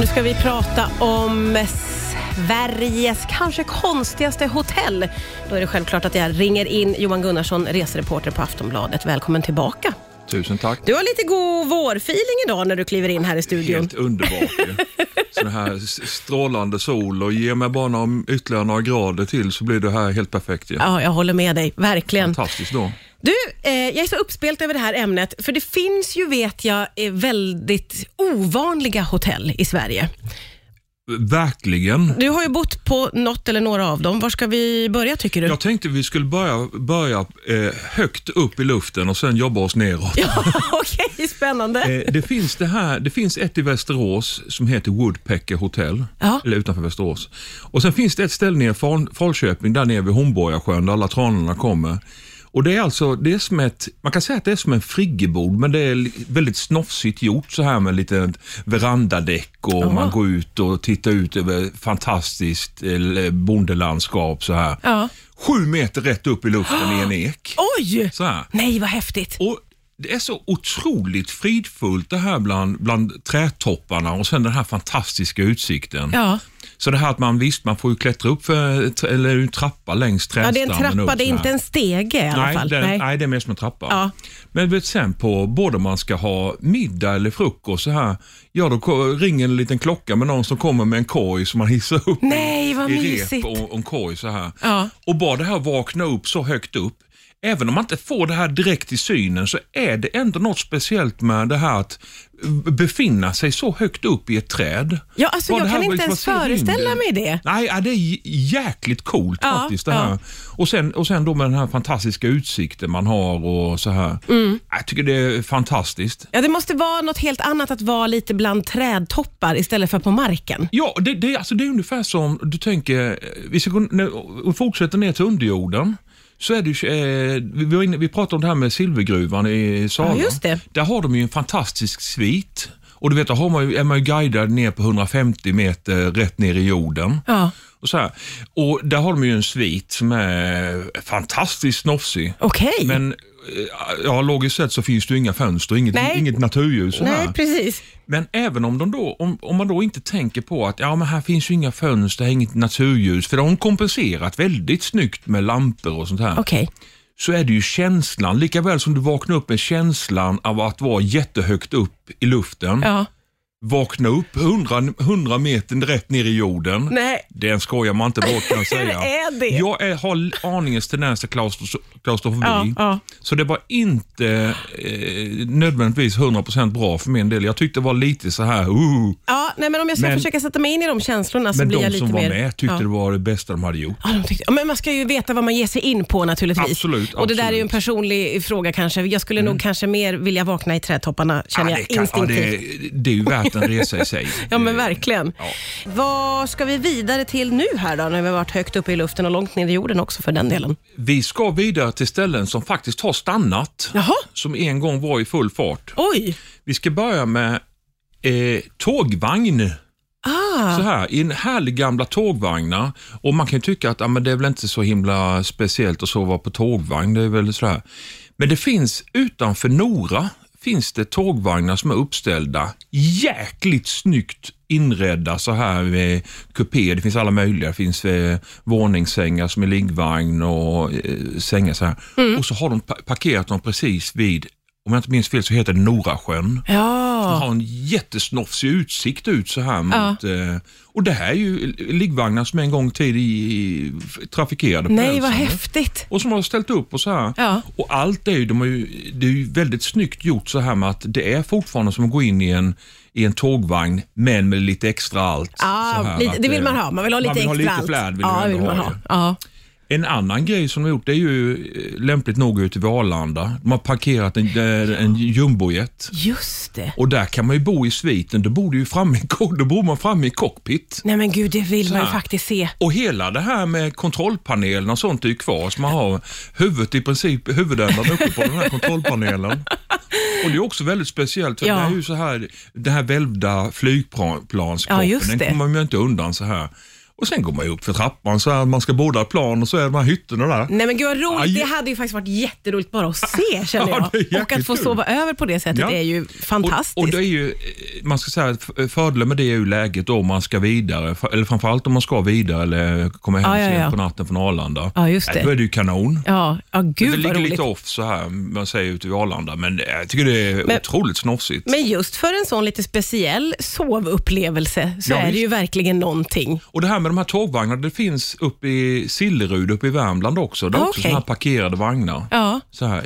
nu ska vi prata om Sveriges kanske konstigaste hotell. Då är det självklart att jag ringer in Johan Gunnarsson, resereporter på Aftonbladet. Välkommen tillbaka. Tusen tack. Du har lite god vårfeeling idag när du kliver in här i studion. Helt underbart ju. Så här strålande sol och ge mig bara några, ytterligare några grader till så blir det här helt perfekt ju. Ja, jag håller med dig, verkligen. Fantastiskt då. Du, eh, jag är så uppspelt över det här ämnet, för det finns ju, vet jag, eh, väldigt ovanliga hotell i Sverige. Verkligen. Du har ju bott på något eller några av dem. Var ska vi börja tycker du? Jag tänkte vi skulle börja, börja eh, högt upp i luften och sen jobba oss neråt. Ja, Okej, spännande. Eh, det, finns det, här, det finns ett i Västerås som heter Woodpecker Hotel, Ja. eller utanför Västerås. Och Sen finns det ett ställe nere i Fal- Falköping, där nere vid Hornborgasjön, där alla tranorna kommer. Och Det är alltså, det är som ett, man kan säga att det är som en friggebod, men det är li- väldigt snofsigt gjort så här med lite verandadäck och man går ut och tittar ut över fantastiskt eh, bondelandskap så här. Ja. Sju meter rätt upp i luften i en ek. Oj! Så här. Nej, vad häftigt. Och det är så otroligt fridfullt det här bland, bland trädtopparna och sen den här fantastiska utsikten. Ja. Så det här att man visst, man får ju klättra upp för, eller en trappa längs ja, trädstammen. det är en upp trappa, så det är här. inte en stege i alla Nej, ah, fall. det är- nej, det är mer som en trappa. Ja. Men vet, sen på både om man ska ha middag eller frukost så här, ja då ko- ringer en liten klocka med någon som kommer med en korg som man hissar upp Nej, vad i mysigt. rep och, och en korg så här. Ja. Och bara det här vakna upp så högt upp, även om man inte får det här direkt i synen så är det ändå något speciellt med det här att b- befinna sig så högt upp i ett träd. Ja, alltså, Bara jag det här kan var inte liksom ens att se rymden. föreställa mig det. Nej, ja, det är j- jäkligt coolt Ja, faktiskt det ja. här. Och, sen, och sen då med den här fantastiska utsikten man har och så här. Mm. Jag tycker det är fantastiskt. Ja, det måste vara något helt annat att vara lite bland trädtoppar istället för på marken. Ja, det, det, är- alltså det är ungefär som du tänker, eh, vi ska gå ner och fortsätta ner till underjorden. Så är det, ju, eh, vi, vi var inne, vi pratade om det här med silvergruvan i Sala. Ja, just det. Där har de ju en fantastisk svit. Och du vet, där har man ju, är man ju guidad ner på 150 meter rätt ner i jorden. Ja. Och, så här. och Där har de ju en svit som är fantastiskt snofsig. Okej. Men eh, ja, logiskt sett så finns det ju inga fönster, inget, Nej. inget naturljus. så här. Nej, precis. Men även om, de då, om, om man då inte tänker på att ja, men här finns ju inga fönster, här är inget naturljus, för de har kompenserat väldigt snyggt med lampor och sånt här, Okej. så är det ju känslan, lika väl som du vaknar upp med känslan av att vara jättehögt upp i luften, Ja. vakna upp 100, 100 meter rätt ner i jorden. Nej. Den skojar man inte bort kan jag säga. är det? Jag är, har aningens tendens till klaustro, klaustrofobi. Ja, ja. Så det var inte eh, nödvändigtvis 100% bra för min del. Jag tyckte det var lite så här, uh, Ja, nej, men om jag ska Men- försöka sätta mig in i de känslorna så men blir jag de lite som var mer... med tyckte ja. det var det bästa de hade gjort. Ja, de tyckte, ja, men man ska ju veta vad man ger sig in på naturligtvis. Absolut, Och det där är ju en absolut. Mm. personlig fråga kanske. Jag skulle nog kanske mer vilja vakna i trädtopparna känner Ja, jag det, kan, ja, instinktivt. det, det är ju värt en resa i sig. Ja men Det- verkligen. Ja. Vad ska vi vidare till nu här då, när vi har varit högt uppe i luften och långt ner i jorden också för den delen? Vi ska vidare till ställen som faktiskt har stannat, Jaha. som en gång var i full fart. Oj! Vi ska börja med eh, tågvagn. Ah, Så här, I en härlig gamla tågvagnar. Och man kan ju tycka att ja, men det är väl inte så himla speciellt att sova på tågvagn. Det är väl så här. Men det finns utanför Nora finns det tågvagnar som är uppställda. Jäkligt snyggt inredda så här med kupé. Det finns alla möjliga. Det finns eh, våningssängar som är liggvagn och eh, sängar så här. Och så har de pa- parkerat dem precis vid, om jag inte minns fel så heter det Norasjön. Man ja. har en jättesnofsig utsikt ut så här mot... Eh, och det här är ju liggvagnar som en gång tid i, i, trafikerade på Nej vad rälsen. häftigt. Och som har ställt upp och så här. Ja. Och allt är ju, de har ju, det är ju väldigt snyggt gjort så här med att det är fortfarande som att gå in i en, i en tågvagn men med lite extra allt. Ah, så här, lite, att, det vill eh, man ha. Man vill ha lite extra lite allt. flärd vill ja, man ändå vill man ha ha. ju. Ja. En annan grej som de har gjort det är ju eh, lämpligt nog ute vid Arlanda. De har parkerat en, eh, en jumbojet. Just det. Och där kan man ju bo i sviten, då bor, du ju framme, i ko- då bor man framme i cockpit. Nej men gud, det vill man ju här. faktiskt se. Och hela det här med kontrollpanelen och sånt är ju kvar, så man har huvudet i princip, huvudändan uppe på den här kontrollpanelen. Och det är också väldigt speciellt, för Ja. det är ju så här, den här välvda flygplanskroppen, Ja, just det. den kommer man ju inte undan så här. Och sen går man ju upp för trappan så här, man ska båda ett plan och så är de här hytterna där. Nej men gud vad roligt. Aj. Det hade ju faktiskt varit jätteroligt bara att se känner Ja, jag. det är jäkligt och att få kul. sova över på det sättet Ja. är ju fantastiskt. Och, och det är ju, eh, man ska säga, att f- fördelen med det är ju läget då om man ska vidare, f- eller framförallt om man ska vidare eller kommer hem Ja, ja, sent ja. på natten från Arlanda. Ja, just Nej, det. Då är det ju kanon. Ja, ja det gud vad ligger roligt. lite off så här, man säger ute vid Arlanda, men eh, jag tycker det är Men- otroligt snofsigt. Men just för en sån lite speciell sovupplevelse så Ja, är det visst. ju ververkligen någonting. Och det här med de här tågvagnarna, det finns uppe i Sillerud uppe i Värmland också. Det är Ah, också okej. sådana här parkerade vagnar. Ja. Så här,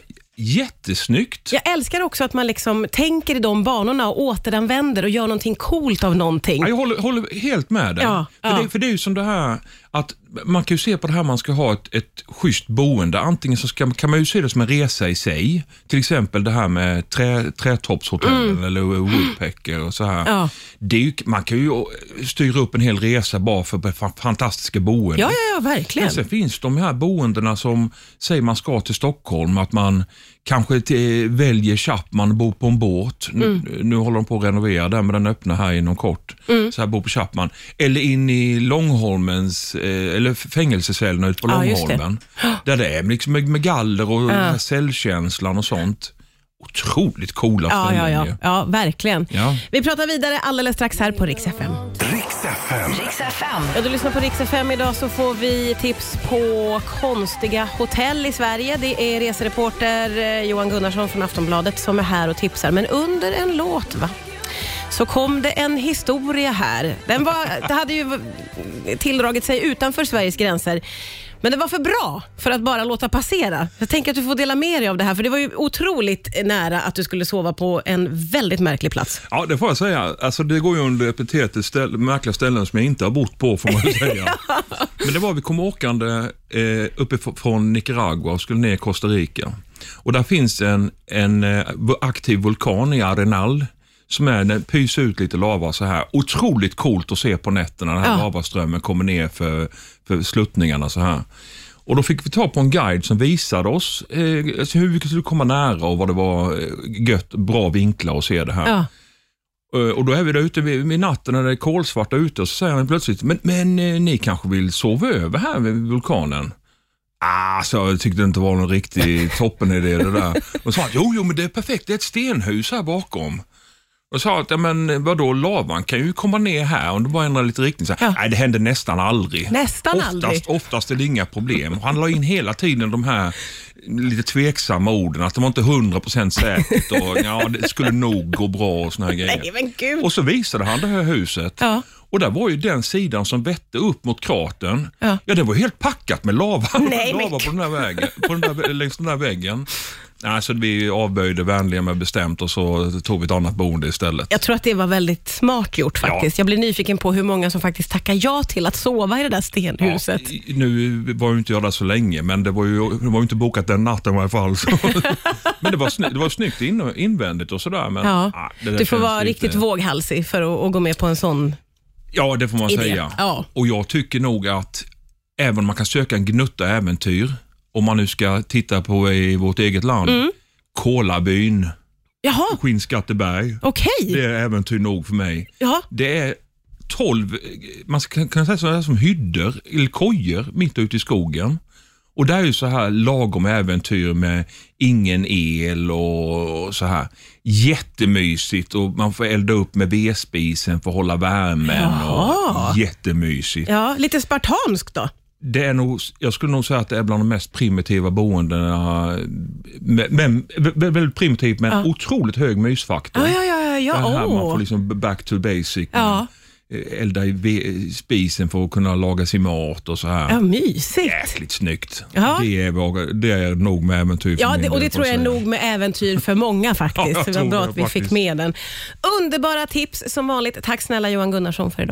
jättesnyggt. Jag älskar också att man liksom tänker i de banorna och återanvänder och gör någonting coolt av någonting. Ja, Jag håller, håller helt med dig. Ja, för, ja. Det, för det är ju som det här att man kan ju se på det här man ska ha ett, ett schysst boende. Antingen så ska, kan man ju se det som en resa i sig. Till exempel det här med trä, trätoppshotellen eller woodpecker och så här. Mm. Ja. Det är ju, man kan ju styra upp en hel resa bara för det fa- fantastiska boendet. Ja, ja, ja verkligen. Men sen finns de här boendena som säger man ska till Stockholm, att man kanske till, väljer Chapman och bor på en båt. Nu, Mm. nu håller de på att renovera den, men den öppnar här inom kort. Så här bor på Chapman. Eller in i Långholmens, eh, eller fängelsecellerna ute på Ja, just det. Långholmen. Där det är liksom med, med galler och den här cellkänslan och sånt. Otroligt coola Ja, ja, ställen ja. ju. ja, verkligen. Ja. Vi pratar vidare alldeles strax här på Rix FM. Riks FM. Riks FM. Ja, du lyssnar på Rix FM. Idag så får vi tips på konstiga hotell i Sverige. Det är resereporter eh, Johan Gunnarsson från Aftonbladet som är här och tipsar. Men under en låt, va? Så kom det en historia här. Den var, det hade ju v- tilldragit sig utanför Sveriges gränser. Men det var för bra för att bara låta passera. Jag tänker att du får dela med dig av det här, för det var ju otroligt nära att du skulle sova på en väldigt märklig plats. Ja, det får jag säga. Alltså, det går ju under epitetet ställ, märkliga ställen som jag inte har bott på, får man ju säga. Men det var, vi kom åkande eh, uppifrån Nicaragua och skulle ner i Costa Rica. Och där finns en, en eh, aktiv vulkan i Arenal som är, den pyser ut lite lava så här. Otroligt coolt att se på nätterna, den här Ja. lavaströmmen kommer ner för, för sluttningarna så här. Och Då fick vi ta på en guide som visade oss eh, alltså hur vi skulle komma nära och vad det var eh, gött, bra vinklar att se det här. Ja. Eh, Och då är vi där ute vid, vid natten när det är kolsvart där ute och så säger han plötsligt, men, men eh, ni kanske vill sova över här vid vulkanen? Ah, så jag tyckte det inte var någon riktig toppenidé det där. Och sa han, jo, jo, men det är perfekt, det är ett stenhus här bakom. Och sa att, ja men vadå, lavan kan ju komma ner här om du bara ändrar lite riktning. Så här, Ja. Nej, det händer nästan aldrig. Nästan oftast, aldrig. Oftast är det inga problem. Och Han la in hela tiden de här lite tveksamma orden, att det var inte 100% säkert och ja, det skulle nog gå bra och såna här grejer. Nej, men gud. Och så visade han det här huset. Ja. Och där var ju den sidan som vette upp mot kratern. Ja. det var helt packat med lava, Nej, men lava på den här vägen, på den där, längs den där väggen. Alltså, vi avböjde vänliga men bestämt och så tog vi ett annat boende istället. Jag tror att det var väldigt smart gjort faktiskt. Jag blir nyfiken på hur många som faktiskt tackar ja till att sova i det där stenhuset. Ja, i- nu var ju inte jag där så länge, men det var ju, det var ju inte bokat den natten i varje fall. Så. men det var, sny, det var snyggt in, invändigt och sådär. Men, Ja. ah, det där Du får känns vara lite- riktigt våghalsig för att, att gå med på en sån. Ja, det får man idé. säga. Ja. Och jag tycker nog att även om man kan söka en gnutta äventyr, om man nu ska titta på i vårt eget land, Mm. Kolabyn, Jaha, Skinnskatteberg, okej. det är äventyr nog för mig. Ja. Det är 12, eh, man ska kunna säga sådana här som hyddor, eller kojor, mitt ute i skogen. Och det är ju så här lagom äventyr med ingen el och och så här. Jättemysigt och man får elda upp med vedspisen för att hålla värmen. Jaha. Och jättemysigt. ja, lite spartanskt då. Det är nog, jag skulle nog säga att det är bland de mest primitiva boendena. Men, men, vä- vä- väldigt primitivt men otroligt hög mysfaktor. Ja, ja, ja, ja, Det här ja. man får Åh. liksom back to basic. Ja. Eh, Elda i ve- spisen för att kunna laga sin mat och så här. ja, mysigt. Jäkligt snyggt. Ja. Det, är, vad- det är nog med äventyr för Ja, min det, och del, det tror får jag är säga. nog med äventyr för många faktiskt. Ja, jag det var tror bra det att vi fick faktiskt. med den. Underbara tips som vanligt. Tack snälla Johan Gunnarsson för idag.